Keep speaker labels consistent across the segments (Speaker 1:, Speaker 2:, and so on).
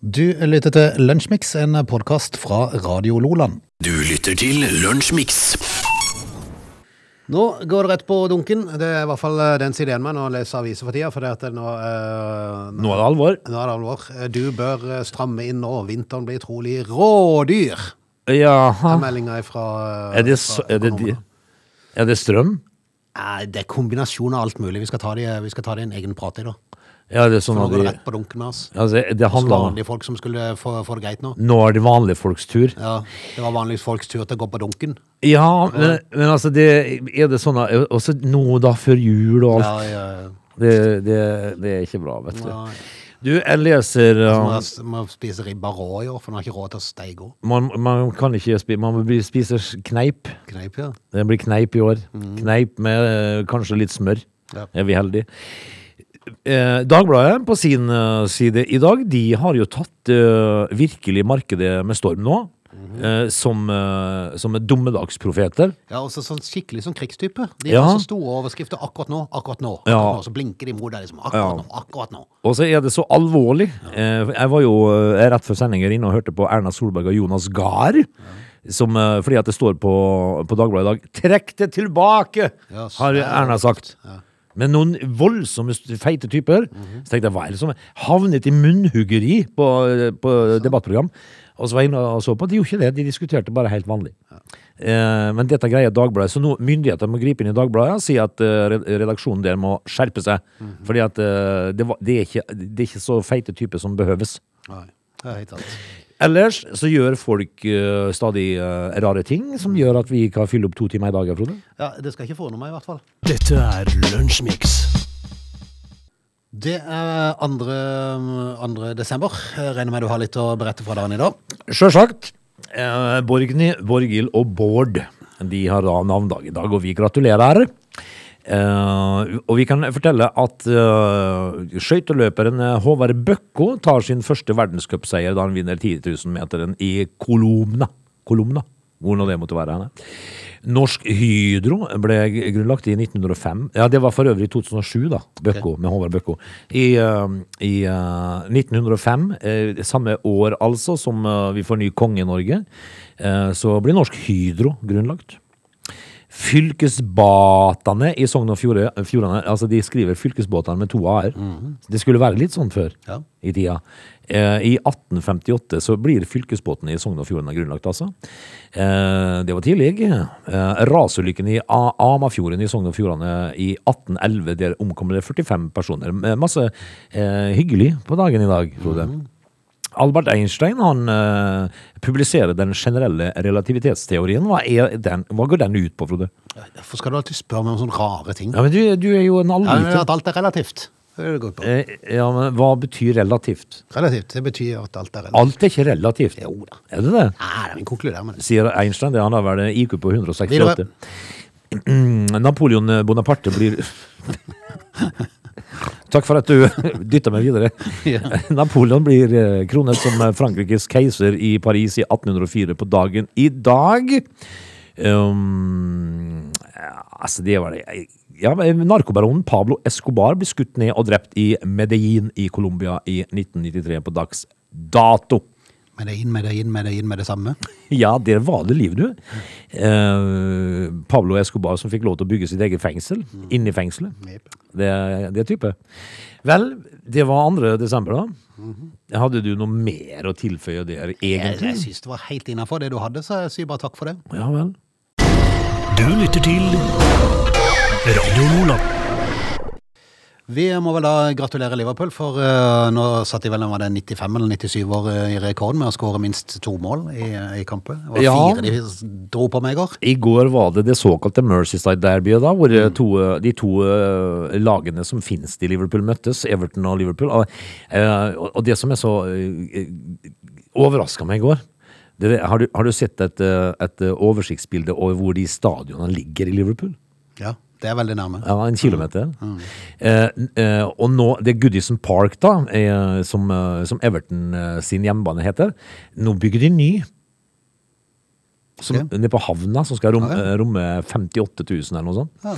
Speaker 1: Du lytter til Lunsjmix, en podkast fra Radio Loland.
Speaker 2: Du lytter til Lunsjmix.
Speaker 3: Nå går det rett på dunken. Det er i hvert fall eh, den siden jeg er med når jeg leser aviser for tida. For det at det nå, eh,
Speaker 4: Nå er det alvor.
Speaker 3: nå er det alvor. Du bør eh, stramme inn nå. Vinteren blir trolig rådyr.
Speaker 4: Jaha.
Speaker 3: Er meldinga fra
Speaker 4: Er det, så, er, det, de- er det strøm?
Speaker 3: Nei, det er kombinasjon av alt mulig. Vi skal ta det vi skal ta det i en egen prat i dag.
Speaker 4: Ja, det er sånn
Speaker 3: Nå
Speaker 4: at
Speaker 3: går
Speaker 4: de,
Speaker 3: det rett på dunken med oss.
Speaker 4: altså, det
Speaker 3: Som
Speaker 4: handler om
Speaker 3: vanlige folk som skulle få, få det greit nå.
Speaker 4: Nå er det vanlige folks tur.
Speaker 3: Ja, Det var vanligvis folks tur til å gå på dunken.
Speaker 4: Ja, men, men altså, det, er det sånn at Også nå, da, før jul og
Speaker 3: Ja,
Speaker 4: alt.
Speaker 3: ja, ja.
Speaker 4: Det, det, det er ikke bra, vet du.
Speaker 3: Nei.
Speaker 4: Du, jeg leser
Speaker 3: Så må
Speaker 4: uh,
Speaker 3: jeg- må jeg spise ribba rå i år, for den har ikke råd til å steige opp.
Speaker 4: eh, man, man kan ikke spise Man blir- spiser kneip.
Speaker 3: Kneip, ja.
Speaker 4: Det blir kneip i år. Kneip med eh, kanskje litt smør.
Speaker 3: Ja.
Speaker 4: Er vi heldige? Eh, Dagbladet på sin eh, side i dag, de har jo tatt eh, virkelig markedet med storm nå. eh, som, eh, som er dommedagsprofeter.
Speaker 3: Ja, også sånn skikkelig sånn krigstype. De
Speaker 4: Ja.
Speaker 3: har så store overskrifter akkurat nå, akkurat nå. akkurat
Speaker 4: Ja.
Speaker 3: nå så blinker de mot deg liksom.
Speaker 4: Ja.
Speaker 3: Akkurat nå, akkurat nå.
Speaker 4: Og så er det så alvorlig. Eh, Jeg var jo eh, rett før sendingen inne og hørte på Erna Solberg og Jonas Gahr. Som, eh, fordi at det står på, på Dagbladet i dag 'Trekk det tilbake!'
Speaker 3: Ja, så
Speaker 4: har
Speaker 3: det er
Speaker 4: Erna
Speaker 3: røft.
Speaker 4: sagt. Men noen voldsomme st- feite typer. Så tenkte jeg, hva er det som er- havnet i munnhuggeri på, på debattprogram? Og så var jeg inne og så på. De gjorde ikke det, de diskuterte bare helt vanlig. Eh, men dette greier Dagbladet. Så nå myndighetene må gripe inn i Dagbladet og si at eh, red- redaksjonen der må skjerpe seg. Fordi at eh, det, var, det, er ikke, det er ikke så feite typer som behøves.
Speaker 3: Nei, det er helt sant.
Speaker 4: Ellers så gjør folk eh, stadig eh, rare ting som gjør at vi kan fylle opp to timer i dag, Frode.
Speaker 3: Ja, det skal ikke forundre meg i hvert fall.
Speaker 2: Dette er Lunsjmix.
Speaker 3: Det er 2. desember. Jeg regner med du har litt å berette fra dagen i dag.
Speaker 4: Sjølsagt. Eh, Borgny, Borghild og Bård De har da navndag i dag, og vi gratulerer. Eh, og vi kan fortelle at eh, skøyteløperen eh, Håvard Bøkko tar sin første verdenscupseier da han vinner 10 000-meteren i Kolomna. Kolomna, hvor nå det måtte være. henne. Norsk Hydro ble g- grunnlagt i 1905. Ja, det var for øvrig i 2007, da. Bøkko, med Håvard Bøkko. I, eh, i eh, 1905, eh, samme år altså som eh, vi får ny konge i Norge, eh, så blir Norsk Hydro grunnlagt. Fylkesbatane i Sogn og Fjorde- Fjordane Altså de skriver fylkesbåtene med to a-er. Det skulle være litt sånn før
Speaker 3: Ja.
Speaker 4: i tida. Eh, I 1858 så blir fylkesbåtene i Sogn og Fjordane grunnlagt, altså. Eh, det var tidlig. Eh, rasulykken i A- Amafjorden i Sogn og Fjordane i 1811, der omkom det 45 personer. Med Masse eh, hyggelig på dagen i dag, Frode. Albert Einstein han eh, publiserer den generelle relativitetsteorien. Hva, er den, hva går den ut på, Frode?
Speaker 3: Hvorfor skal du alltid spørre meg om sånne rare ting?
Speaker 4: Ja, men du, du er jo en
Speaker 3: Ja, men
Speaker 4: allviter.
Speaker 3: at alt er relativt. Det er det det går ut på.
Speaker 4: Eh, ja, men hva betyr relativt?
Speaker 3: Relativt, det betyr at alt er relativt.
Speaker 4: Alt er ikke relativt.
Speaker 3: Jo da.
Speaker 4: Er det det?
Speaker 3: Nei, vi konkluderer med det.
Speaker 4: Sier Einstein det. Han har vel en IQ på 168.
Speaker 3: Videre.
Speaker 4: Mm, Napoleon Bonaparte blir Takk for at du dytta meg videre. Napoleon blir eh, kronet som Frankrikes keiser i Paris i 1804 på dagen i dag. Um, ja, altså, det var det ja, men Narkobaronen Pablo Escobar ble skutt ned og drept i Medellin i Colombia i 1993 på dags dato.
Speaker 3: Med det inn, med det inn, med det inn, med det samme.
Speaker 4: Ja, der var det liv, du. Eh, Pablo Escobar som fikk lov til å bygge sitt eget fengsel. Inne i fengselet.
Speaker 3: Jep.
Speaker 4: Det, det er type. Vel, det var 2. desember, da. Hadde du noe mer å tilføye der,
Speaker 3: Jeg, jeg
Speaker 4: egentlig?
Speaker 3: synes det var helt innenfor det du hadde, så jeg sier bare takk for det.
Speaker 4: Ja vel.
Speaker 2: Du lytter til Radio Nordland.
Speaker 3: Vi må vel da gratulere Liverpool, for eh, nå satt de vel var det 95 eller 97 år eh, i rekord med å skåre minst to mål i, eh, i kampen. Det var
Speaker 4: Ja.
Speaker 3: fire de s- dro på med i går.
Speaker 4: I går var det det såkalte Mercyside-derbyet, da, hvor eh, to, eh, de to eh, lagene som finnes i Liverpool møttes, Everton og Liverpool. Og, eh, og og det som er så overraska meg i går det, er- har, du, har du sett et, eh, et eh, oversiktsbilde over hvor de stadionene ligger i Liverpool?
Speaker 3: Ja, det er veldig nærme. Mm.
Speaker 4: Ja, en kilometer. Eh, n- eh, og nå, det er Goodison Park, da, eh, som, eh, som Everton eh, sin hjemmebane heter. Nå bygger de ny. Som,
Speaker 3: Ok.
Speaker 4: Nede på havna, som skal rom,
Speaker 3: Ja, ja.
Speaker 4: eh, romme 58 000 eller noe sånt.
Speaker 3: Ja.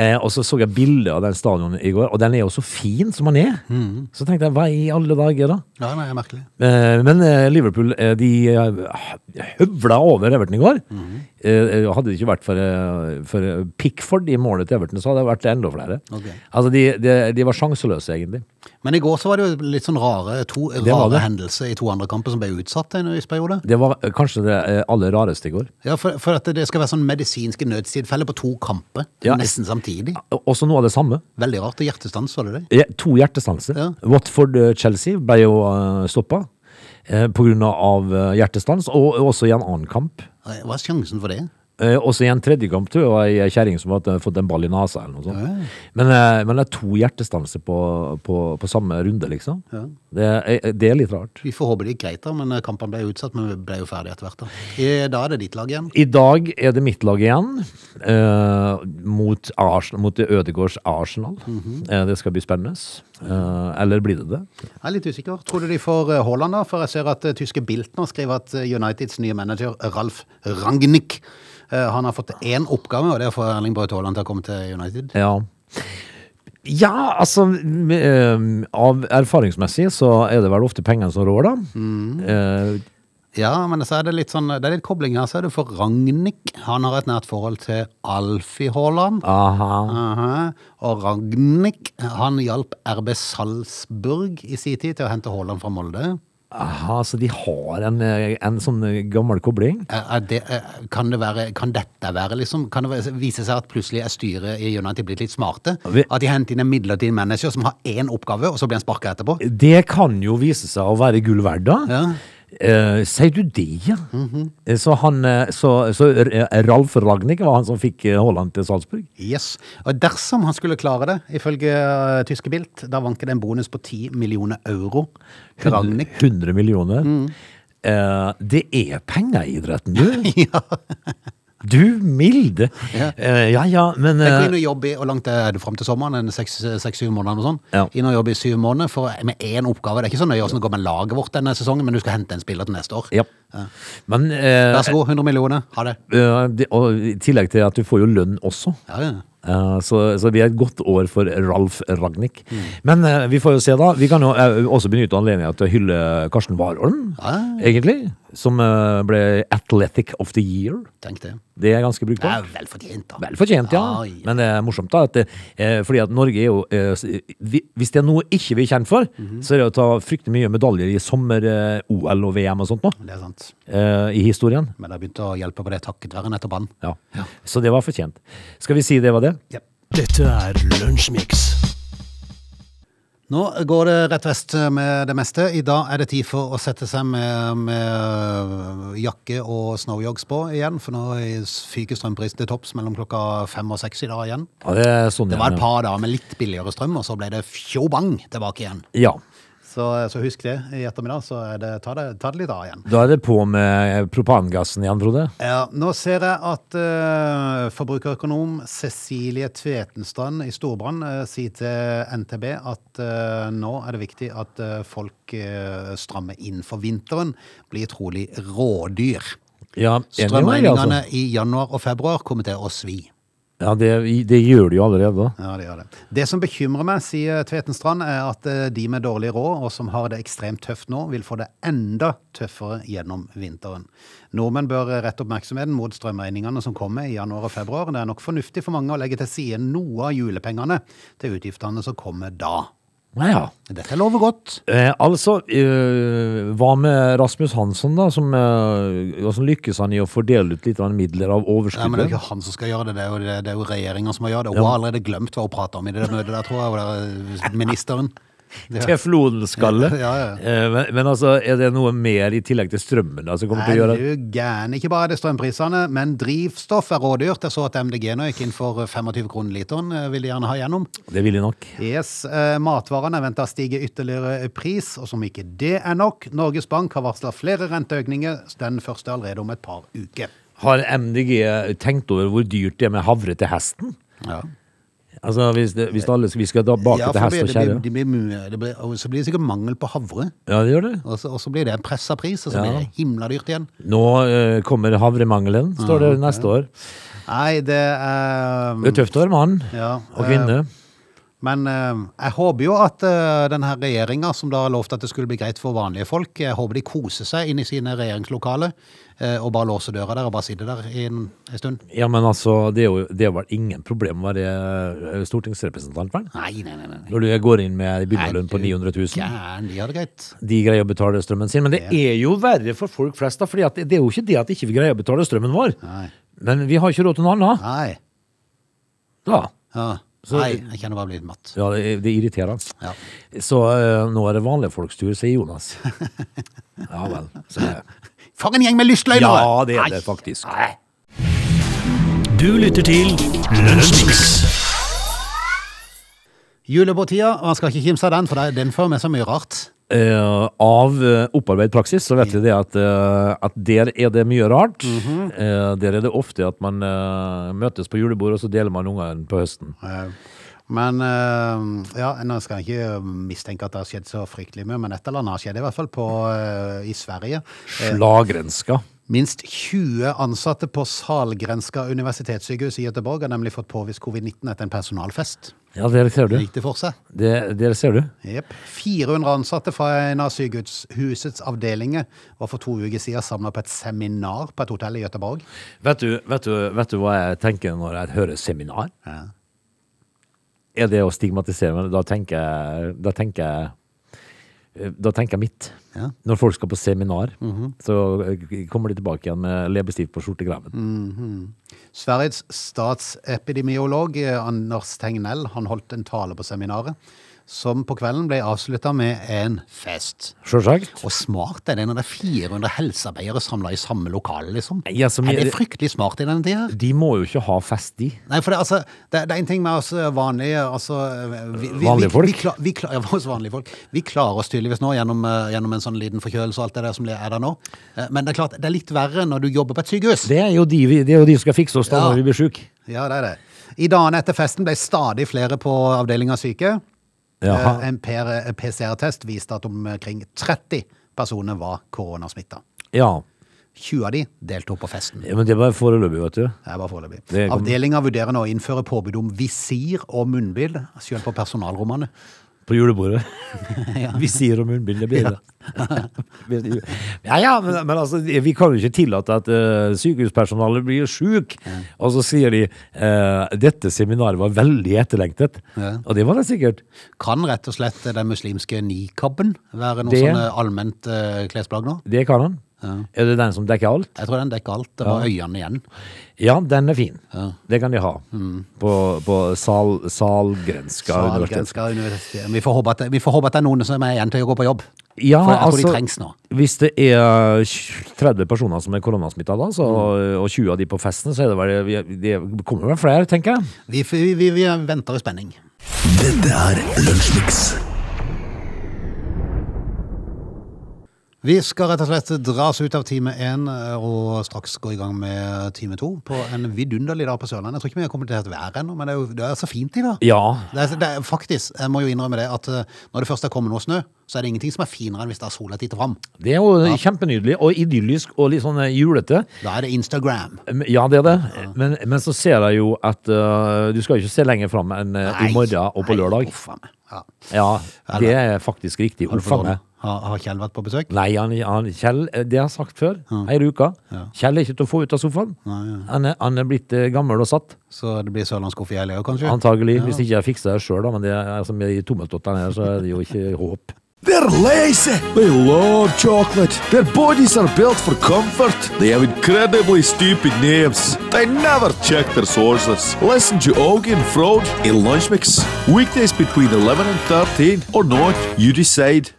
Speaker 4: Eh, og så så jeg bilder av den stadion i går, og den er jo så fin som den er.
Speaker 3: Mm.
Speaker 4: Så tenkte jeg, hva i alle dager, da?
Speaker 3: Ja, nei, det er merkelig.
Speaker 4: Eh, Men eh, Liverpool eh, de eh, høvla over Everton i går.
Speaker 3: Mhm.
Speaker 4: Eh, eh, Hadde det ikke vært for, eh, for eh, Pickford i målet til Everton, så hadde det vært enda flere.
Speaker 3: Ok.
Speaker 4: Altså, de, de, de var sjanseløse, egentlig.
Speaker 3: Men i går så var det jo litt sånn rare, to
Speaker 4: var
Speaker 3: rare
Speaker 4: det.
Speaker 3: hendelser i to andre kamper som ble utsatt en viss periode.
Speaker 4: Det var eh, kanskje det eh, aller rareste i går.
Speaker 3: Ja, for, for at det skal være sånn medisinske nødstilfeller på to kamper,
Speaker 4: Ja,
Speaker 3: nesten samtidig.
Speaker 4: O- Også noe av det samme.
Speaker 3: Veldig rart, og hjertestans var det det.
Speaker 4: Ja, To hjertestanser.
Speaker 3: Ja.
Speaker 4: Watford-Chelsea ble jo eh, stoppa eh, på grunn av eh, hjertestans, og også i en annen kamp.
Speaker 3: Hva er sjansen for det?
Speaker 4: Eh, også i en tredje kamp, tror jeg, og ei- ei kjerring som hadde fått en ball i nesa eller noe sånt. Men, eh, men det er to hjertestanser på, på, på samme runde, liksom. Det, er, eh, det er litt rart.
Speaker 3: Vi får håpe det gikk greit da, men eh, kampen ble utsatt, men vi ble jo ferdig etter hvert da. I- Da er det ditt lag igjen.
Speaker 4: I dag er det mitt lag igjen, eh, mot, Arsenal, mot Ødegårds Arsenal. eh, det skal bli spennende. Eh, eller blir det det?
Speaker 3: Jeg er litt usikker. Tror du de får eh, Haaland da? For jeg ser at eh, tyske Biltner skriver at eh, Uniteds nye manager Ralf Rangnick, eh, han har fått én oppgave, og det er å få Erling Braut Haaland til å komme til United.
Speaker 4: Ja. Ja, altså m- eh, Av erfaringsmessig så er det vel ofte pengene som rår, da. Eh,
Speaker 3: Ja, men så er det litt sånn, det er litt kobling her, så er det for Rangnick. Han har et nært forhold til Alfie Haaland.
Speaker 4: aha.
Speaker 3: Aha. Og Rangnick, han hjalp RB Salzburg i sin tid til å hente Haaland fra Molde.
Speaker 4: aha, så de har en, eh, en sånn eh, gammel kobling?
Speaker 3: Er er det, er- kan, det være, kan dette være liksom Kan det være- vise seg at plutselig er styret i United blitt litt smarte?
Speaker 4: Vi-
Speaker 3: At de henter inn en midlertidig manager som har én oppgave, og så blir han sparka etterpå?
Speaker 4: Det kan jo vise seg å være gull verdt, da.
Speaker 3: Ja. Mhm.
Speaker 4: Eh, sier du det, ja? Eh, Så, han, eh, så, så eh, Ralf Ragnhild var han som fikk eh, Haaland til Salzburg?
Speaker 3: Yes. Og dersom han skulle klare det, ifølge eh, tyske Bilt, da vanker det en bonus på 10 millioner euro. til Ragnhild.
Speaker 4: 100 millioner.
Speaker 3: Mm.
Speaker 4: Eh, det er penger i idretten, du.
Speaker 3: Ja.
Speaker 4: Du milde.
Speaker 3: Ja.
Speaker 4: Eh, ja, ja, men
Speaker 3: Jeg går
Speaker 4: eh,
Speaker 3: inn og jobbe i, og langt er det fram til sommeren, en seks-syv måneder og sånn.
Speaker 4: Ja.
Speaker 3: Inn og jobbe i syv måneder for, med én oppgave. Det er ikke så nøye hvordan det går med laget vårt denne sesongen, men du skal hente en spiller til neste år.
Speaker 4: Ja. Men eh,
Speaker 3: Vær så god, 100 millioner. Ha det.
Speaker 4: eh, det, og I tillegg til at du får jo lønn også.
Speaker 3: Ja, ja.
Speaker 4: Eh, så, så vi er et godt år for Ralf Ragnhild.
Speaker 3: Mm.
Speaker 4: Men eh, vi får jo se, da. Vi kan jo eh, også benytte anledningen til å hylle Karsten Warholm, egentlig. Som eh, ble Athletic of the Year.
Speaker 3: Tenk det.
Speaker 4: Det er ganske
Speaker 3: Det
Speaker 4: brukbart.
Speaker 3: er vel fortjent, da.
Speaker 4: Vel fortjent, ja.
Speaker 3: Ja, ja.
Speaker 4: Men det er morsomt, da. At, det- eh, fordi at Norge er jo eh, s- vi, Hvis det er noe ikke vi er kjent for,
Speaker 3: Mhm.
Speaker 4: så er det å ta fryktelig mye medaljer i sommer-OL og VM og sånt nå.
Speaker 3: Det er sant.
Speaker 4: eh, I historien.
Speaker 3: Men det har begynt å hjelpe på det takket være nettopp han.
Speaker 4: Ja. Så det var fortjent. Skal vi si det var det?
Speaker 3: Ja.
Speaker 2: Dette er Lunsjmix.
Speaker 3: Nå går det rett vest med det meste. I dag er det tid for å sette seg med, med jakke og snowjogs på igjen, for nå fyker strømprisen til topps mellom klokka fem og seks i dag igjen.
Speaker 4: Ja, det er sånn
Speaker 3: Det var
Speaker 4: ja.
Speaker 3: et par dager med litt billigere strøm, og så ble det fjobang tilbake igjen.
Speaker 4: Ja.
Speaker 3: Så, så husk det i ettermiddag, så er det, ta, det, ta det litt av igjen.
Speaker 4: Da er det på med eh, propangassen igjen, Frode.
Speaker 3: Ja, nå ser jeg at eh, forbrukerøkonom Cecilie Tvetenstrand i Storbrann eh, sier til NTB at eh, nå er det viktig at eh, folk eh, strammer inn for vinteren, blir trolig rådyr.
Speaker 4: Ja, enig med deg,
Speaker 3: Strømregningene
Speaker 4: altså.
Speaker 3: i januar og februar kommer til å svi.
Speaker 4: Ja, det, det gjør det jo allerede. da.
Speaker 3: Ja, det gjør det. Det som bekymrer meg, sier Tvetenstrand, er at eh, de med dårlig råd, og som har det ekstremt tøft nå, vil få det enda tøffere gjennom vinteren. Nordmenn bør eh, rette oppmerksomheten mot strømregningene som kommer i januar og februar. Det er nok fornuftig for mange å legge til side noe av julepengene til utgiftene som kommer da.
Speaker 4: Ja, ja.
Speaker 3: Dette lover godt.
Speaker 4: Eh, altså, eh, hva med Rasmus Hansson, da? Som, eh, hvordan lykkes han i å fordele ut litt grann midler av
Speaker 3: Nei, men det er jo
Speaker 4: overskuddet?
Speaker 3: ikke han som skal gjøre det, det er jo, det- det er jo regjeringa som må gjøre det. Hun har allerede glemt hva hun prata om i det møtet der, tror jeg. Og det er ministeren. Det-
Speaker 4: Teflonskalle.
Speaker 3: Ja, ja, ja.
Speaker 4: Eh, men, men altså, er det noe mer i tillegg til strømmen da, som kommer til å
Speaker 3: Er
Speaker 4: gjøre
Speaker 3: du gæren? Ikke bare er det strømprisene, men drivstoff er rådyrt. Jeg så at MDG nå gikk inn for 25 kroner literen, eh, vil de gjerne ha gjennom.
Speaker 4: Det vil de nok.
Speaker 3: Yes, eh, Matvarene er venta å stige ytterligere i pris, og som ikke det er nok, Norges Bank har varsla flere renteøkninger, den første allerede om et par uker.
Speaker 4: Har MDG tenkt over hvor dyrt det er med havre til hesten?
Speaker 3: Ja,
Speaker 4: Altså, hvis, det, hvis alle, vi skal tilbake
Speaker 3: ja
Speaker 4: til
Speaker 3: for det,
Speaker 4: hest
Speaker 3: blir- det,
Speaker 4: og
Speaker 3: blir-
Speaker 4: kjerre?
Speaker 3: det, blir mye- det blir- og så blir det sikkert mangel på havre.
Speaker 4: Ja, det gjør det.
Speaker 3: Og så, og så blir det en pressa pris, og så
Speaker 4: Ja.
Speaker 3: blir det himla dyrt igjen. Ah,
Speaker 4: Nå eh, kommer havremangelen, står det neste år.
Speaker 3: Nei, det er
Speaker 4: Det er tøft å være mann
Speaker 3: ja,
Speaker 4: og kvinne.
Speaker 3: Men eh, jeg håper jo at eh, denne regjeringa, som da lovte at det skulle bli greit for vanlige folk, jeg håper de koser seg inn i sine regjeringslokaler eh, og bare låser døra der og bare sitter der i en, en stund.
Speaker 4: Ja, men altså, det er jo det er vel ingen problem å være eh, stortingsrepresentant, vel?
Speaker 3: Nei, nei, nei. nei.
Speaker 4: Når du går inn med en begynnerlønn på
Speaker 3: Nei,
Speaker 4: 900 000.
Speaker 3: Gæren, de har det greit.
Speaker 4: De greier å betale strømmen sin. Men det er jo verre for folk flest, da. For det det er jo ikke det at ikke vi ikke greier å betale strømmen vår.
Speaker 3: Nei.
Speaker 4: Men vi har ikke råd til noe annet.
Speaker 3: Nei.
Speaker 4: Da.
Speaker 3: Ja.
Speaker 4: Så-
Speaker 3: nei, jeg kjenner bare blitt matt.
Speaker 4: Ja, det, det irriterer oss.
Speaker 3: Ja.
Speaker 4: Så eh, nå er det vanlige folks tur, sier Jonas. Ja vel. Så, det-
Speaker 3: For en gjeng med lystløgnere!
Speaker 4: ja, det er det faktisk.
Speaker 2: Du lytter til Lunsjmix.
Speaker 3: Julebortida, man skal ikke kimse av den, for det- den fører med så mye rart.
Speaker 4: Eh, av eh, opparbeidet praksis så vet vi det at, eh, at der er det mye rart.
Speaker 3: Mhm.
Speaker 4: Eh, der er det ofte at man eh, møtes på julebord, og så deler man ungene på høsten.
Speaker 3: Eh, Men eh, ja, nå skal jeg ikke eh, mistenke at det har skjedd så fryktelig mye, men et eller annet har skjedd, i hvert fall på, eh, i Sverige. Eh,
Speaker 4: Slagrenska.
Speaker 3: Minst 20 ansatte på Salgrenska universitetssykehus i Göteborg har nemlig fått påvist covid-19 etter en personalfest.
Speaker 4: Ja, der ser du.
Speaker 3: Gikk det for seg?
Speaker 4: Det, der ser du.
Speaker 3: Jep. 400 ansatte fra en av sykehusets avdelinger var for to uker siden samla på et seminar på et hotell i Gøteborg.
Speaker 4: Vet du, vet, du, vet du hva jeg tenker når jeg hører seminar?
Speaker 3: Ja.
Speaker 4: Er det å stigmatisere? Men da tenker jeg Da tenker jeg eh, da tenker jeg mitt.
Speaker 3: Ja. Mhm.
Speaker 4: Når folk skal på seminar, så eh, kommer de tilbake igjen med leppestift på skjortegraven.
Speaker 3: Mm. Sveriges statsepidemiolog eh, Anders Tegnell han holdt en tale på seminaret, som på kvelden ble avslutta med en fest.
Speaker 4: Sjølsagt.
Speaker 3: Og smart er det når det er 400 helsearbeidere samla i samme lokale, liksom.
Speaker 4: Ja, som-
Speaker 3: er det fryktelig smart i denne tida? her?
Speaker 4: De må jo ikke ha fest, de.
Speaker 3: Nei, for det, er altså, det, det er en ting med oss vanlige altså, vi, vi,
Speaker 4: Vanlige folk?
Speaker 3: Vi, vi, kla- vi, kla- ja, oss vanlige folk. Vi klarer oss tydeligvis nå gjennom, eh, gjennom en sånn liten forkjølelse og alt det der som er der nå. Eh, Men det er klart, det er litt verre når du jobber på et sykehus.
Speaker 4: Det er jo de, vi- det er jo de som skal fikse oss da
Speaker 3: Ja.
Speaker 4: når vi blir syke.
Speaker 3: Ja, det er det. I dagene etter festen ble stadig flere på avdelinga syke.
Speaker 4: Jaha.
Speaker 3: Eh, En per- eh, PCR-test viste at omkring 30 personer var koronasmitta.
Speaker 4: Ja.
Speaker 3: 20 av de deltok på festen.
Speaker 4: ja, men det er bare foreløpig, vet du.
Speaker 3: Det er bare foreløpig.
Speaker 4: Det kom-
Speaker 3: Avdelinga vurderer nå å innføre påbud om visir og munnbind, selv på personalrommene.
Speaker 4: På julebordet. Visir og munnbind, det blir det. ja ja, men, men altså, vi kan jo ikke tillate at eh, sykehuspersonalet blir sjuk. Og så sier de eh, dette seminaret var veldig etterlengtet.
Speaker 3: Ja.
Speaker 4: Og det var det sikkert.
Speaker 3: Kan rett og slett den muslimske nikaben være noe
Speaker 4: Det-
Speaker 3: sånn eh, allment eh, klesplagg nå?
Speaker 4: Det kan han. Er det den som dekker alt?
Speaker 3: Jeg tror den dekker alt. Det var øynene igjen.
Speaker 4: Ja, den er fin.
Speaker 3: Ja. Mm.
Speaker 4: Det kan de ha. På, på sal, Salgrenska universitet.
Speaker 3: Salgrenska universitet. Vi får, håpe at, vi får håpe at det er noen som er igjen til å gå på jobb.
Speaker 4: Ja,
Speaker 3: For jeg tror de
Speaker 4: altså,
Speaker 3: trengs nå.
Speaker 4: Hvis det er 30 personer som er koronasmitta, da, så, og 20 av de på festen, så er det vel, vi- det kommer vel flere, tenker jeg.
Speaker 3: Vi, vi, vi, vi venter i spenning.
Speaker 2: Dette er Lunsjmix.
Speaker 3: Vi skal rett og slett dras ut av time én og straks gå i gang med time to på en vidunderlig dag på Sørlandet. Jeg tror ikke vi har kommentert været ennå, men det er jo det er så fint i dag.
Speaker 4: Ja.
Speaker 3: Det er, det er, faktisk, jeg må jo innrømme det, at eh, når det først er kommet noe snø, så er det ingenting som er finere enn hvis det er sola titter fram.
Speaker 4: Det er jo kjempenydelig og idyllisk og litt sånn eh, julete.
Speaker 3: Da er det Instagram.
Speaker 4: Men- Ja, det er det. Men, men så ser jeg jo at eh, du skal jo ikke se lenger fram enn eh, i morgen og på
Speaker 3: nei,
Speaker 4: lørdag.
Speaker 3: uff a meg. Ja.
Speaker 4: Ja, det er faktisk riktig.
Speaker 3: Har, du
Speaker 4: Uff
Speaker 3: fått
Speaker 4: a
Speaker 3: lov?
Speaker 4: meg.
Speaker 3: har, har Kjell vært på besøk?
Speaker 4: Nei, han, han, Kjell, eh, det har jeg sagt før, hele uka. Kjell er ikke til å få ut av sofaen. Han, er, han er blitt eh, gammel og satt,
Speaker 3: Så det blir sørlandskuff i helga òg, kanskje?
Speaker 4: antagelig. Hvis ikke jeg fikser det sjøl, da. Men det er, altså, med de tommeltottene her, så er det jo ikke håp.
Speaker 5: They're lazy. They love chocolate. Their bodies are built for comfort. They have incredibly stupid names. They never check their sources. Listen to Augie and Frode in Lunch Mix. Weekdays between 11 and 13 or not, you decide.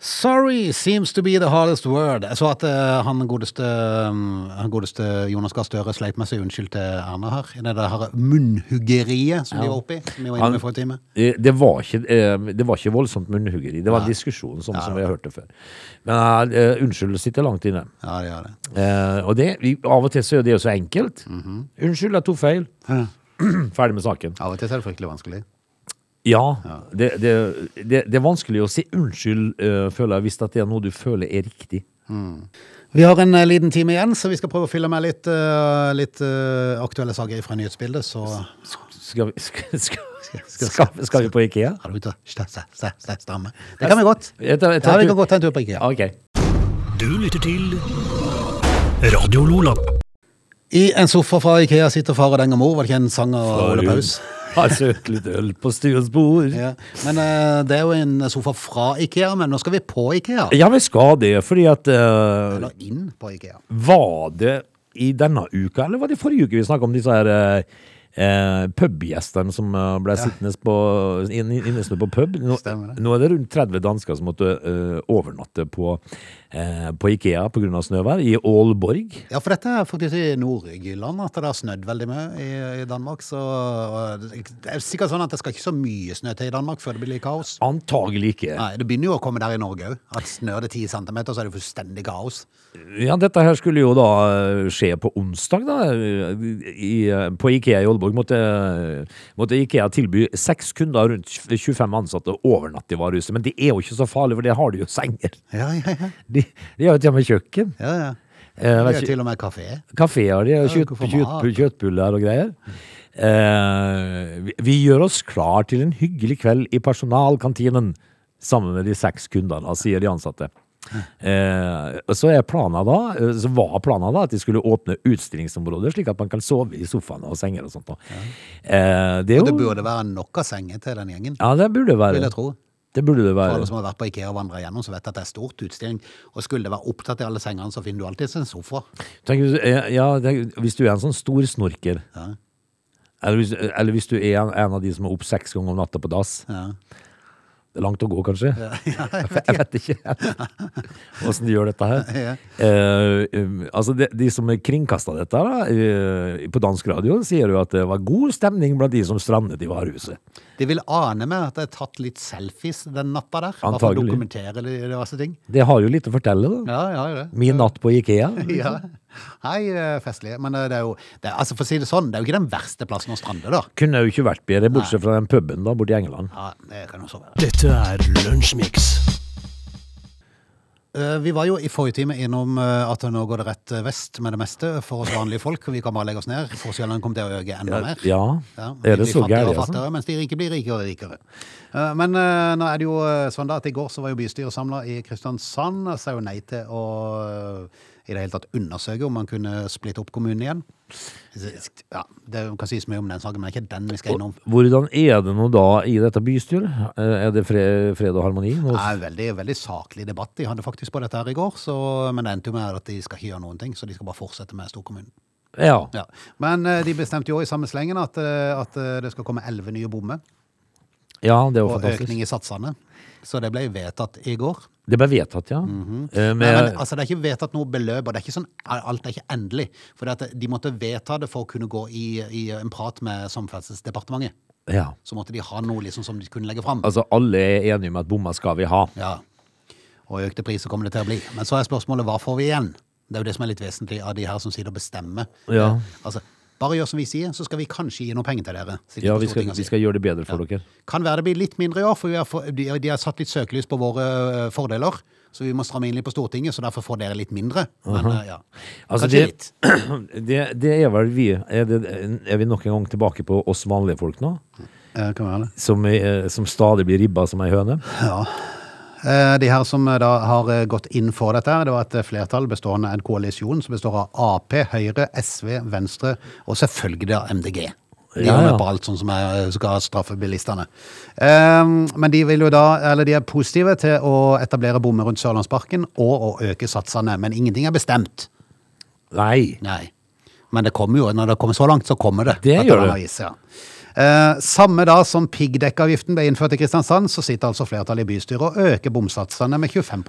Speaker 3: Sorry seems to be the hardest word. Jeg så at eh, han, godeste, mm, han godeste Jonas Gahr Støre sleip med seg unnskyld til Erna her. I det der munnhuggeriet som de var oppi. Som vi var inne med forrige time.
Speaker 4: Eh, Det var ikke, eh, det var ikke voldsomt munnhuggeri. Det var en diskusjon, sånn som vi har hørt det før. Men eh, unnskyld sitter langt inne.
Speaker 3: Ja, det gjør det.
Speaker 4: Eh, og det, vi, av og til så er det jo så enkelt.
Speaker 3: Mhm.
Speaker 4: Unnskyld, jeg tok feil. Hm, Ferdig med saken.
Speaker 3: Av og til er det fryktelig vanskelig.
Speaker 4: Ja, det, det, det, det er vanskelig å si unnskyld, eh, føler jeg, hvis at det er noe du føler er riktig.
Speaker 3: Vi har en eh, liten time igjen, så vi skal prøve å fylle med litt, eh, litt eh, aktuelle saker fra nyhetsbildet. Så
Speaker 4: Skal vi, skal, skal, skal, skal vi på Ikea?
Speaker 3: Har du ikke sta- sta- sta- sta- stamme? Det kan vi godt.
Speaker 4: Jeg tar- jeg tar
Speaker 3: Ja, vi
Speaker 4: tur-
Speaker 3: kan godt ta en tur på IKEA.
Speaker 4: Ok.
Speaker 2: Du lytter til Radio Lola.
Speaker 3: I en sofa fra Ikea sitter far og den og mor. Var det ikke en sang av Ole Paus?
Speaker 4: Har søkt litt øl på stuens bord.
Speaker 3: Ja. Men eh, det er jo en sofa fra Ikea, men nå skal vi på Ikea.
Speaker 4: Ja, vi skal det, fordi at eh,
Speaker 3: Eller inn på Ikea.
Speaker 4: Var det i denne uka, eller var det i forrige uke vi snakket om disse her eh, eh, pubgjestene som eh, ble sittende på, inn- inn- innesnø på pub? Nå,
Speaker 3: Stemmer det.
Speaker 4: nå er det rundt 30 dansker som måtte eh, overnatte på, eh, på Ikea pga. snøvær, i Aalborg.
Speaker 3: Ja, for dette er faktisk i Nord-Jylland at det har snødd veldig mye i, i Danmark. Så og det er sikkert sånn at det skal ikke så mye snø til i Danmark før det blir kaos.
Speaker 4: Antagelig ikke.
Speaker 3: Nei, Det begynner jo å komme der i Norge òg. At snør det 10 cm, så er det fullstendig kaos.
Speaker 4: Ja, dette her skulle jo da eh, skje på onsdag, da. I, eh, på Ikea i Aalborg måtte, måtte Ikea tilby seks kunder rundt 25 ansatte overnatt i varehuset. Men det er jo ikke så farlig, for det har de jo senger.
Speaker 3: Ja, ja, ja.
Speaker 4: De, de har jo til og med kjøkken.
Speaker 3: ja, ja.
Speaker 4: Eh,
Speaker 3: Det
Speaker 4: vet
Speaker 3: er jo
Speaker 4: ikke-
Speaker 3: til og med kafé.
Speaker 4: Kafé har de, og
Speaker 3: Ja,
Speaker 4: kjøtt,
Speaker 3: hvorfor
Speaker 4: kjøtt,
Speaker 3: mat?
Speaker 4: kjøttbuller og greier. Eh, vi, vi gjør oss klar til en hyggelig kveld i personalkantinen sammen med de seks kundene, sier de ansatte. Eh, og så, er planen da, eh, så var planen da at de skulle åpne utstillingsområder, slik at man kan sove i sofaene og senger og sånt. da. Eh, det,
Speaker 3: Og
Speaker 4: er
Speaker 3: det
Speaker 4: jo,
Speaker 3: burde være nok av senger til den gjengen,
Speaker 4: ja, det burde
Speaker 3: vil
Speaker 4: være.
Speaker 3: jeg tro. altså.
Speaker 4: Det burde det
Speaker 3: For
Speaker 4: være.
Speaker 3: alle som har vært på Ikea og vandret gjennom, så vet at det er stort utstilling. Og skulle det være opptatt i alle sengene, så finner du alltid en sofa.
Speaker 4: Tenk, hvis- eh, ja, tenk, hvis du er en sånn stor snorker,
Speaker 3: Ja.
Speaker 4: eller, hvis, eller hvis du er en, en av de som er opp seks ganger om natta på dass,
Speaker 3: Ja.
Speaker 4: det er langt å gå kanskje?
Speaker 3: Ja, jeg vet
Speaker 4: Jeg vet ikke åssen de gjør dette her.
Speaker 3: Ja.
Speaker 4: Eh, um, altså de, de som kringkasta dette da, eh, på dansk radio, sier jo at det var god stemning blant de som strandet i varehuset.
Speaker 3: ikke. De vil ane meg at jeg har tatt litt selfies den natta der. Bare for å
Speaker 4: Antagelig.
Speaker 3: dokumentere de- diverse ting.
Speaker 4: Det har jo litt å fortelle, da.
Speaker 3: Ja, ja, ja.
Speaker 4: Min natt på Ikea.
Speaker 3: Ja. Hei, eh, festlige. Men eh, det er jo det er, altså For å si det sånn, det er jo ikke den verste plassen å strande, da.
Speaker 4: Kunne jo ikke vært bedre, bortsett fra den puben da, borte i England.
Speaker 3: Ja, det kan også være.
Speaker 2: Dette er Lunsjmix.
Speaker 3: Eh, Vi var jo i forrige time innom eh, at nå går det rett eh, vest med det meste for oss vanlige folk. og Vi kan bare legge oss ned. Forskjellene kommer til å øke enda mer.
Speaker 4: Ja,
Speaker 3: vi
Speaker 4: er det
Speaker 3: blir fattigere
Speaker 4: så
Speaker 3: og
Speaker 4: gærent? Altså?
Speaker 3: fattigere, Mens de rike blir rikere og rikere. Eh, Men eh, nå er det jo eh, sånn da at i går så var jo bystyret samla i Kristiansand og sa jo nei til å eh, i det hele tatt undersøke om man kunne splitte opp kommunen igjen. Ja, Det kan sies mye om den saken, men det er ikke den vi skal innom.
Speaker 4: Hvordan er det nå da i dette bystyret? Eh, Er det fred, fred og harmoni? Nå,
Speaker 3: Det er en veldig, veldig saklig debatt de hadde faktisk på dette her i går, så, men det endte jo med at de skal ikke gjøre noen ting, så de skal bare fortsette med storkommunen.
Speaker 4: ja.
Speaker 3: Ja. Men eh, de bestemte jo i samme slengen at, eh, at eh, det skal komme elleve nye bommer,
Speaker 4: ja, det er jo
Speaker 3: og
Speaker 4: fantastisk.
Speaker 3: økning i satsene. Så det ble vedtatt i går.
Speaker 4: Det ble vedtatt, ja. Eh,
Speaker 3: Mhm. Nei,
Speaker 4: med-
Speaker 3: men, altså, det er ikke vedtatt noe beløp, og det er ikke sånn, alt er ikke endelig. For det at de måtte vedta det for å kunne gå i, i en prat med Samferdselsdepartementet.
Speaker 4: ja.
Speaker 3: Så måtte de ha noe liksom, som de kunne legge fram.
Speaker 4: Altså, alle er enige om at bomma skal vi ha.
Speaker 3: Ja. Og økte priser kommer det til å bli. Men så er spørsmålet hva får vi igjen? Det er jo det som er litt vesentlig av de her som sitter og bestemmer.
Speaker 4: Ja.
Speaker 3: Eh, Altså, bare gjør som vi sier, så skal vi kanskje gi noe penger til dere. sitter
Speaker 4: Ja,
Speaker 3: på
Speaker 4: vi skal,
Speaker 3: Stortinget og
Speaker 4: vi
Speaker 3: sier.
Speaker 4: skal gjøre det bedre for dere.
Speaker 3: Kan være det blir litt mindre i år, for vi har, få- de, de har satt litt søkelys på våre eh, fordeler. Så vi må stramme inn litt på Stortinget, så derfor får dere litt mindre. Men eh, ja,
Speaker 4: Altså,
Speaker 3: kanskje
Speaker 4: det,
Speaker 3: litt.
Speaker 4: det, det er vel vi er, det, er vi nok en gang tilbake på oss vanlige folk nå?
Speaker 3: Eh, Kan være det.
Speaker 4: Som, er- eh, som stadig blir ribba som ei høne?
Speaker 3: Eh, De her som eh, da har eh, gått inn for dette, her, det var et eh, flertall bestående av en koalisjon som består av Ap, Høyre, SV, Venstre og selvfølgelig av MDG. De
Speaker 4: Ja,
Speaker 3: er
Speaker 4: ja.
Speaker 3: med på alt sånn som er, skal straffe bilistene. Ehm, men de, vil jo da, eller de er positive til å etablere bommer rundt Sørlandsparken og å øke satsene. Men ingenting er bestemt.
Speaker 4: Nei.
Speaker 3: Nei. Men det kommer jo, når det kommer så langt, så kommer det.
Speaker 4: Det
Speaker 3: At
Speaker 4: gjør
Speaker 3: er
Speaker 4: det.
Speaker 3: en avis, ja. Eh, samme da som piggdekkavgiften ble innført i Kristiansand, så sitter altså flertallet i bystyret og øker bomsatsene med 25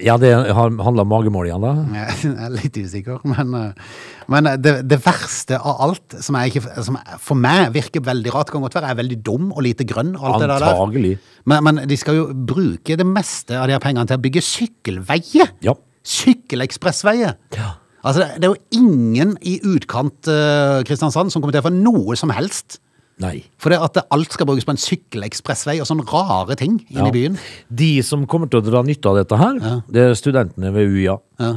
Speaker 4: Ja, det har- handler om magemål igjen, da?
Speaker 3: Jeg er litt usikker, men, eh, men det, det verste av alt, som, jeg ikke, som for meg virker veldig rart, kan godt være jeg er veldig dum og lite grønn. og Alt det der.
Speaker 4: Antagelig.
Speaker 3: Men, men de skal jo bruke det meste av de her pengene til å bygge sykkelveier.
Speaker 4: Ja.
Speaker 3: Sykkelekspressveier.
Speaker 4: Ja.
Speaker 3: Altså, det, det er jo ingen i utkant eh, Kristiansand som kommer til å få noe som helst
Speaker 4: Nei.
Speaker 3: For det at alt skal brukes på en sykkelekspressvei og sånne rare ting inne i byen.
Speaker 4: De som kommer til å dra nytte av dette her, det er studentene ved UiA.
Speaker 3: Ja.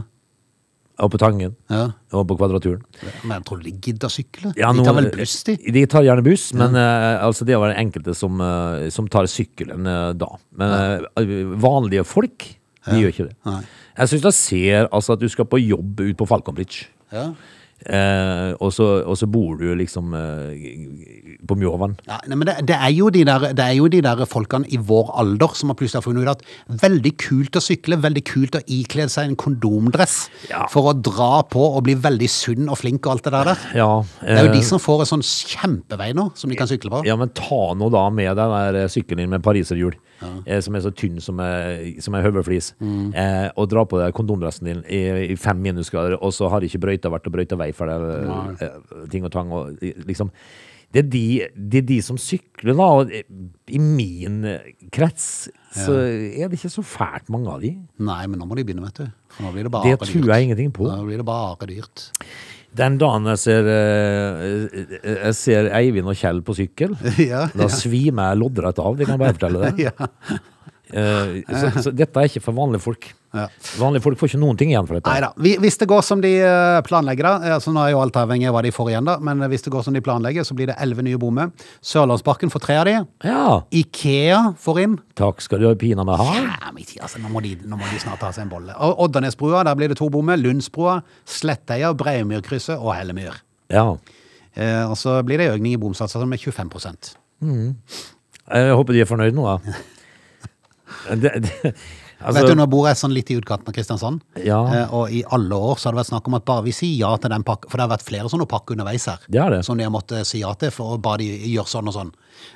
Speaker 4: Og på Tangen.
Speaker 3: Ja.
Speaker 4: Og på Kvadraturen.
Speaker 3: Men jeg tror de gidder sykle.
Speaker 4: Ja,
Speaker 3: de
Speaker 4: nå-
Speaker 3: tar vel buss, de?
Speaker 4: De tar gjerne buss, men eh, altså, det var den enkelte som, eh, som tar sykkelen eh, da. Men eh, vanlige folk, de gjør ikke det.
Speaker 3: Nei.
Speaker 4: Jeg syns jeg ser altså, at du skal på jobb ut på Falconbridge.
Speaker 3: Ja.
Speaker 4: Eh, og, så, og så bor du liksom eh, på Mjåvann.
Speaker 3: Ja, nei, men det, det, er jo de der, det er jo de der folkene i vår alder som har plutselig har funnet ut at veldig kult å sykle, veldig kult å ikle seg en kondomdress
Speaker 4: Ja.
Speaker 3: for å dra på og bli veldig sunn og flink og alt det der. der.
Speaker 4: Ja,
Speaker 3: Det er jo
Speaker 4: eh,
Speaker 3: de som får en sånn kjempevei nå, som de kan sykle på.
Speaker 4: ja, men ta nå da med deg den der sykkelen din med pariserhjul, eh, som er så tynn som, eh, som en høvelflis, eh, og dra på deg kondomdressen din i, i fem minusgrader, og så har ikke brøyta vært og brøyta vei for deg, eh, eh, ting og tang, og eh, liksom det er, de, det er de som sykler, da. Og eh, i min eh, krets så er det ikke så fælt mange av de.
Speaker 3: Nei, men nå må de begynne, vet du. For Nå blir det bare
Speaker 4: Det tror jeg ingenting på.
Speaker 3: Nå blir det bare dyrt.
Speaker 4: Den dagen jeg ser, eh, eh, jeg ser Eivind og Kjell på sykkel,
Speaker 3: Ja,
Speaker 4: da svimer jeg loddrett av. Det kan jeg bare fortelle deg.
Speaker 3: Ja.
Speaker 4: Eh, så, så dette er ikke for vanlige folk.
Speaker 3: Ja.
Speaker 4: Vanlige folk får ikke noen ting igjen for dette.
Speaker 3: Nei da. Hvis det går som de eh, planlegger, da eh, altså Nå er jo alt avhengig av hva de får igjen, da. Men eh, hvis det går som de planlegger, så blir det elleve nye bommer. Sørlandsparken får tre av de.
Speaker 4: Ja,
Speaker 3: Ikea får inn.
Speaker 4: takk skal du pina meg ha.
Speaker 3: Ja, men ikke- altså, nå, må de, nå må de snart ta seg en bolle. Og Oddanesbrua, der blir det to bommer. Lundsbrua, Sletteia, Breimyrkrysset og Hellemyr.
Speaker 4: Ja.
Speaker 3: Eh, og så blir det økning i bomsatser sånn med 25
Speaker 4: Jeg håper de er fornøyd nå, da. Det, det, altså,
Speaker 3: Vet du, Nå bor jeg sånn litt i utkanten av Kristiansand,
Speaker 4: Ja.
Speaker 3: eh, og i alle år så har det vært snakk om at bare vi sier ja til den pakken, for det har vært flere sånne pakker underveis her,
Speaker 4: Det har det.
Speaker 3: som de har måttet si ja til, for å bare de gjør sånn og sånn.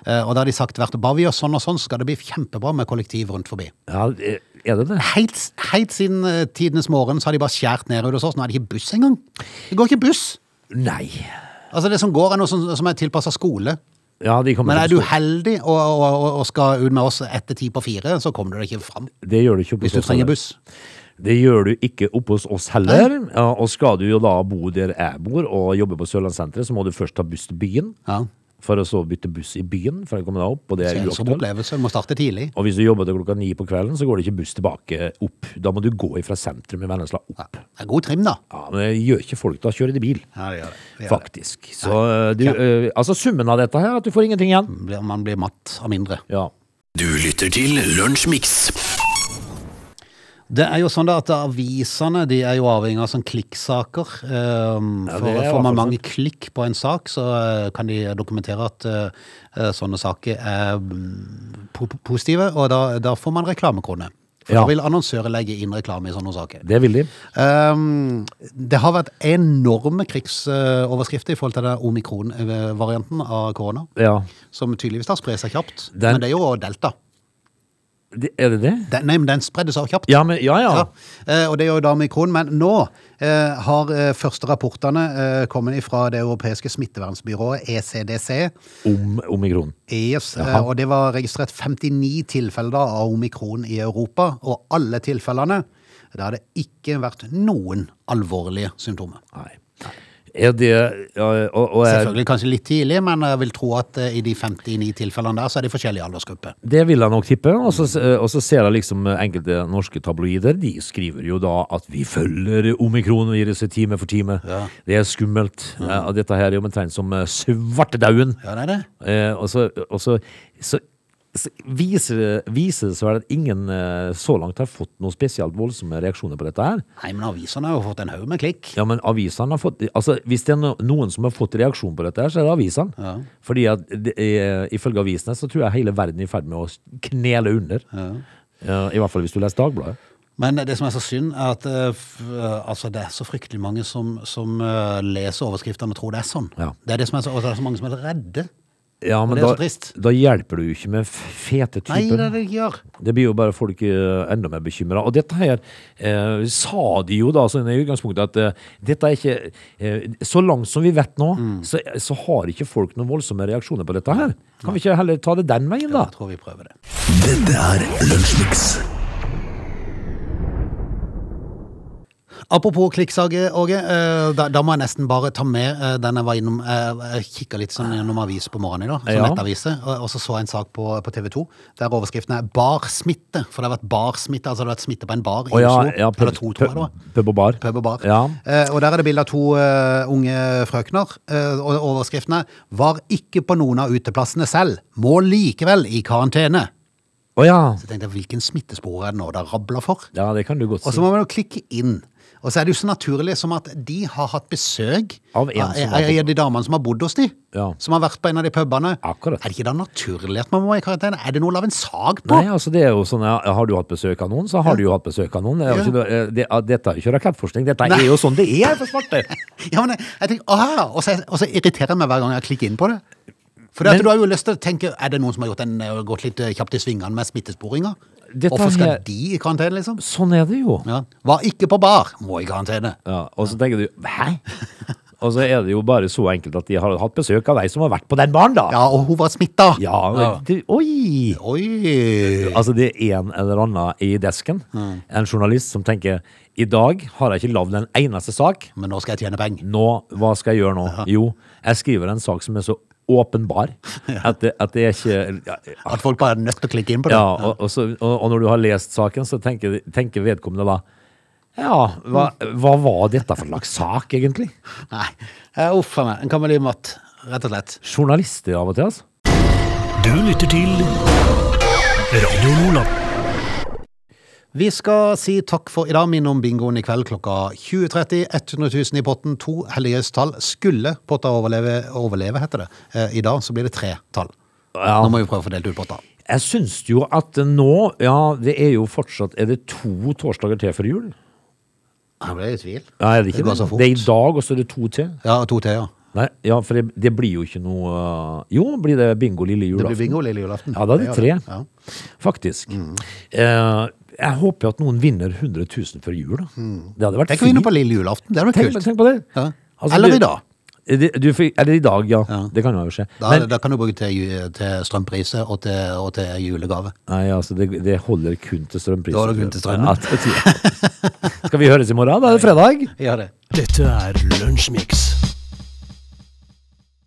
Speaker 3: Eh, og da har de sagt hvert år, bare vi gjør sånn og sånn, så skal det bli kjempebra med kollektiv rundt forbi.
Speaker 4: ja, er det det?
Speaker 3: Helt, helt siden eh, tidenes morgen så har de bare skjært ned hos oss, nå er det ikke buss engang. Det går ikke buss.
Speaker 4: Nei.
Speaker 3: Altså det som går er noe som, som er tilpasset skole.
Speaker 4: Ja, de kommer
Speaker 3: Men er
Speaker 4: til
Speaker 3: du
Speaker 4: å stå-
Speaker 3: heldig og, og, og- og skal ut med oss etter ti på fire, så kommer du deg ikke fram
Speaker 4: Det gjør du ikke oppe
Speaker 3: hvis
Speaker 4: hos
Speaker 3: du
Speaker 4: oss
Speaker 3: trenger
Speaker 4: heller.
Speaker 3: buss.
Speaker 4: Det gjør du ikke oppe hos oss heller. Ja, og skal du jo da bo der jeg bor og jobbe på Sørlandssenteret, så må du først ta buss til byen.
Speaker 3: Ja.
Speaker 4: For å så bytte buss i byen for å komme deg opp, og det er
Speaker 3: Som
Speaker 4: uaktuelt.
Speaker 3: opplevelse, må starte tidlig.
Speaker 4: Og hvis du jobber til klokka ni på kvelden, så går det ikke buss tilbake opp. Da må du gå ifra sentrum i Vennesla opp.
Speaker 3: Det er god trim, da.
Speaker 4: Ja, men det gjør ikke folk, da kjører de bil.
Speaker 3: Ja, det gjør det. Det gjør det.
Speaker 4: Faktisk. Så eh, du, eh, altså summen av dette her, er at du får ingenting igjen.
Speaker 3: Blir- Man blir matt av mindre.
Speaker 4: Ja.
Speaker 2: Du lytter til Lunsjmix.
Speaker 3: Det er jo sånn da at avisene de er jo avhengig av sånn klikksaker. Um, for
Speaker 4: Ja, det er i
Speaker 3: Får
Speaker 4: hvert fall sånn.
Speaker 3: man mange klikk på en sak, så eh, kan de dokumentere at eh, eh, sånne saker er mm, po positive, og da, da får man reklamekrone. For
Speaker 4: Ja.
Speaker 3: da vil annonsører legge inn reklame i sånne saker.
Speaker 4: Det vil de.
Speaker 3: Um, det har vært enorme krigsoverskrifter i forhold til den omikron-varianten av korona,
Speaker 4: Ja.
Speaker 3: som tydeligvis da sprer seg kjapt.
Speaker 4: Den-
Speaker 3: Men det er jo delta.
Speaker 4: De, er det det?
Speaker 3: Den, nei, men den spredde seg kjapt.
Speaker 4: Ja, men ja, ja.
Speaker 3: Ja, eh, og det gjør jo da omikron, men nå eh, har eh, første rapportene eh, kommet fra det europeiske smittevernbyrået, E ECDC.
Speaker 4: Om omikron.
Speaker 3: Yes, eh,
Speaker 4: Jaha.
Speaker 3: og det var registrert 59 tilfeller da av omikron i Europa, og alle tilfellene der har det ikke vært noen alvorlige symptomer.
Speaker 4: Nei. Er det ja, og, og er,
Speaker 3: Selvfølgelig kanskje litt tidlig, men jeg vil tro at eh, i de 59 tilfellene der, så er de forskjellige aldersgrupper.
Speaker 4: Det vil jeg nok tippe. Og så, og så ser jeg liksom enkelte norske tabloider. De skriver jo da at vi følger omikronviruset time for time. Det er skummelt. Eh, og dette her er jo omtrent som eh, svartedauden.
Speaker 3: Ja, det er det.
Speaker 4: Eh, og så, og så, så, så viser, det- viser det seg vel at ingen eh, så langt har fått noen spesielt voldsomme reaksjoner på dette her.
Speaker 3: Nei, men avisene har jo fått en haug med klikk.
Speaker 4: Ja, men avisene har fått Altså, hvis det er no- noen som har fått reaksjon på dette her, så er det avisene. Fordi at det er, ifølge avisene så tror jeg hele verden er i ferd med å s- knele under. Ja, I hvert fall hvis du leser Dagbladet.
Speaker 3: Men det som er så synd, er at eh, f- eh, altså det er så fryktelig mange som, som eh, leser overskriftene og tror det er sånn.
Speaker 4: Ja.
Speaker 3: Det er det som er så, og så er det så mange som er redde.
Speaker 4: Ja, men
Speaker 3: det er
Speaker 4: da,
Speaker 3: så trist.
Speaker 4: da hjelper du jo ikke med f- fete
Speaker 3: Nei, det er
Speaker 4: typer.
Speaker 3: det de gjør.
Speaker 4: Det blir jo bare folk eh, enda mer bekymra. Og dette her eh, sa de jo da sånn i utgangspunktet at eh, dette er ikke eh, Så langt som vi vet nå, så, så har ikke folk noen voldsomme reaksjoner på dette her. Kan vi ikke heller ta det den veien, da?
Speaker 3: Jeg tror vi prøver det.
Speaker 2: Dette er Lunsjmix.
Speaker 3: Apropos klikksaker, Åge. eh, Da, da må jeg nesten bare ta med eh, den jeg var innom eh, Jeg kikka litt sånn gjennom avis på morgenen i dag, som
Speaker 4: Ja.
Speaker 3: nettaviser, og, og så så jeg en sak på, på TV 2 der overskriften er 'barsmitte'. For det har vært barsmitte, altså det har vært smitte på en bar i
Speaker 4: Å ja,
Speaker 3: Oslo.
Speaker 4: ja, pub-
Speaker 3: Eller to, tror jeg det var.
Speaker 4: pub- Pub og bar.
Speaker 3: Pub og bar.
Speaker 4: Ja.
Speaker 3: Eh, og der er det bilde av to eh, unge frøkner. eh, og overskriften er 'Var ikke på noen av uteplassene selv. Må likevel i karantene'.
Speaker 4: Å ja.
Speaker 3: Så tenkte jeg, hvilken smittespor er det nå det rabler for?
Speaker 4: Ja, det kan du godt
Speaker 3: Og
Speaker 4: si.
Speaker 3: så må man jo klikke inn. Og så er det jo så naturlig som at de har hatt besøk
Speaker 4: Av en som har
Speaker 3: av en av de damene som har bodd hos de.
Speaker 4: Ja.
Speaker 3: Som har vært på en av de pubene.
Speaker 4: Akkurat.
Speaker 3: Er det ikke da naturlig at man må i karantene? Er det noe å lage en sag på?
Speaker 4: Nei, altså det er jo sånn, ja, Har du hatt besøk av noen, så har du jo hatt besøk av noen. Det er jo
Speaker 3: Ja.
Speaker 4: ikke, noe- eh, det, det, dette er jo ikke rakettforskning, dette
Speaker 3: Nei.
Speaker 4: er jo sånn det er for svarte.
Speaker 3: Ja, men jeg, jeg tenker, ah, og, så, og så irriterer jeg meg hver gang jeg klikker inn på det. For
Speaker 4: Men-
Speaker 3: du har jo lyst til å tenke, er det noen som har gjort en, gått litt eh, kjapt i svingene med smittesporinga?
Speaker 4: Dette
Speaker 3: Hvorfor skal
Speaker 4: her-
Speaker 3: de i karantene, liksom?
Speaker 4: Sånn er det jo.
Speaker 3: Ja. Var ikke på bar, må i karantene.
Speaker 4: Ja, og så tenker du hæ? Og så er det jo bare så enkelt at de har hatt besøk av deg som har vært på den baren, da.
Speaker 3: Ja, og hun var smitta.
Speaker 4: Ja, men det- Oi!
Speaker 3: Oi!
Speaker 4: Altså det er en eller annen i desken, en journalist, som tenker i dag har jeg ikke lagd en eneste sak.
Speaker 3: Men nå skal jeg tjene penger.
Speaker 4: Nå, hva skal jeg gjøre nå? Jo, jeg skriver en sak som er så åpenbar at det, at det er ikke
Speaker 3: At folk bare er nødt til å klikke inn på det.
Speaker 4: Ja, og, og, så, og, og når du har lest saken, så tenker, tenker vedkommende da Ja, hva, hva var dette for slags sak, egentlig?
Speaker 3: Nei, Eh, uff a meg. En kamel i matt, rett og slett.
Speaker 4: Journalister av og til, altså.
Speaker 2: Du lytter til Radio Lola.
Speaker 3: Vi skal si takk for i dag. Minn om bingoen i kveld klokka 20.30. 100 000 i potten, to helligøystall. Skulle potta overleve, overleve, heter det. Eh, I dag så blir det tre tall.
Speaker 4: Ja.
Speaker 3: Nå må vi prøve å fordele ut potta.
Speaker 4: Jeg syns jo at nå Ja, det er jo fortsatt Er det to torsdager til før jul?
Speaker 3: Jeg ble i tvil.
Speaker 4: Nei, er det ikke
Speaker 3: går så
Speaker 4: det?
Speaker 3: fort.
Speaker 4: Det er i dag, og så er det to til.
Speaker 3: Ja, to til, ja.
Speaker 4: Nei, ja, for det, det blir jo ikke noe øh, Jo, blir det bingo lille
Speaker 3: Det
Speaker 4: julaften?
Speaker 3: blir bingo lille julaften.
Speaker 4: Ja, da er det tre,
Speaker 3: Ja.
Speaker 4: faktisk. Eh, jeg håper jo at noen vinner 100 000 før jul. Da. Det hadde vært
Speaker 3: Tenk å vinne på lille julaften. Det hadde vært
Speaker 4: tenk,
Speaker 3: kult.
Speaker 4: tenk på det. Altså,
Speaker 3: Ja. Eller
Speaker 4: du-
Speaker 3: i dag.
Speaker 4: Er det- Du, får- er det i dag, ja.
Speaker 3: Ja.
Speaker 4: Det kan jo skje.
Speaker 3: Da,
Speaker 4: Men,
Speaker 3: da kan du bruke til, ju- til strømpriser og til, og til julegave.
Speaker 4: nei, altså, det, det holder kun til strømprisen.
Speaker 3: Da holder det kun til strømmen.
Speaker 4: Ja, til- Skal vi høres i morgen? Da er det fredag.
Speaker 3: Ja, det.
Speaker 2: Dette er Lunsjmix.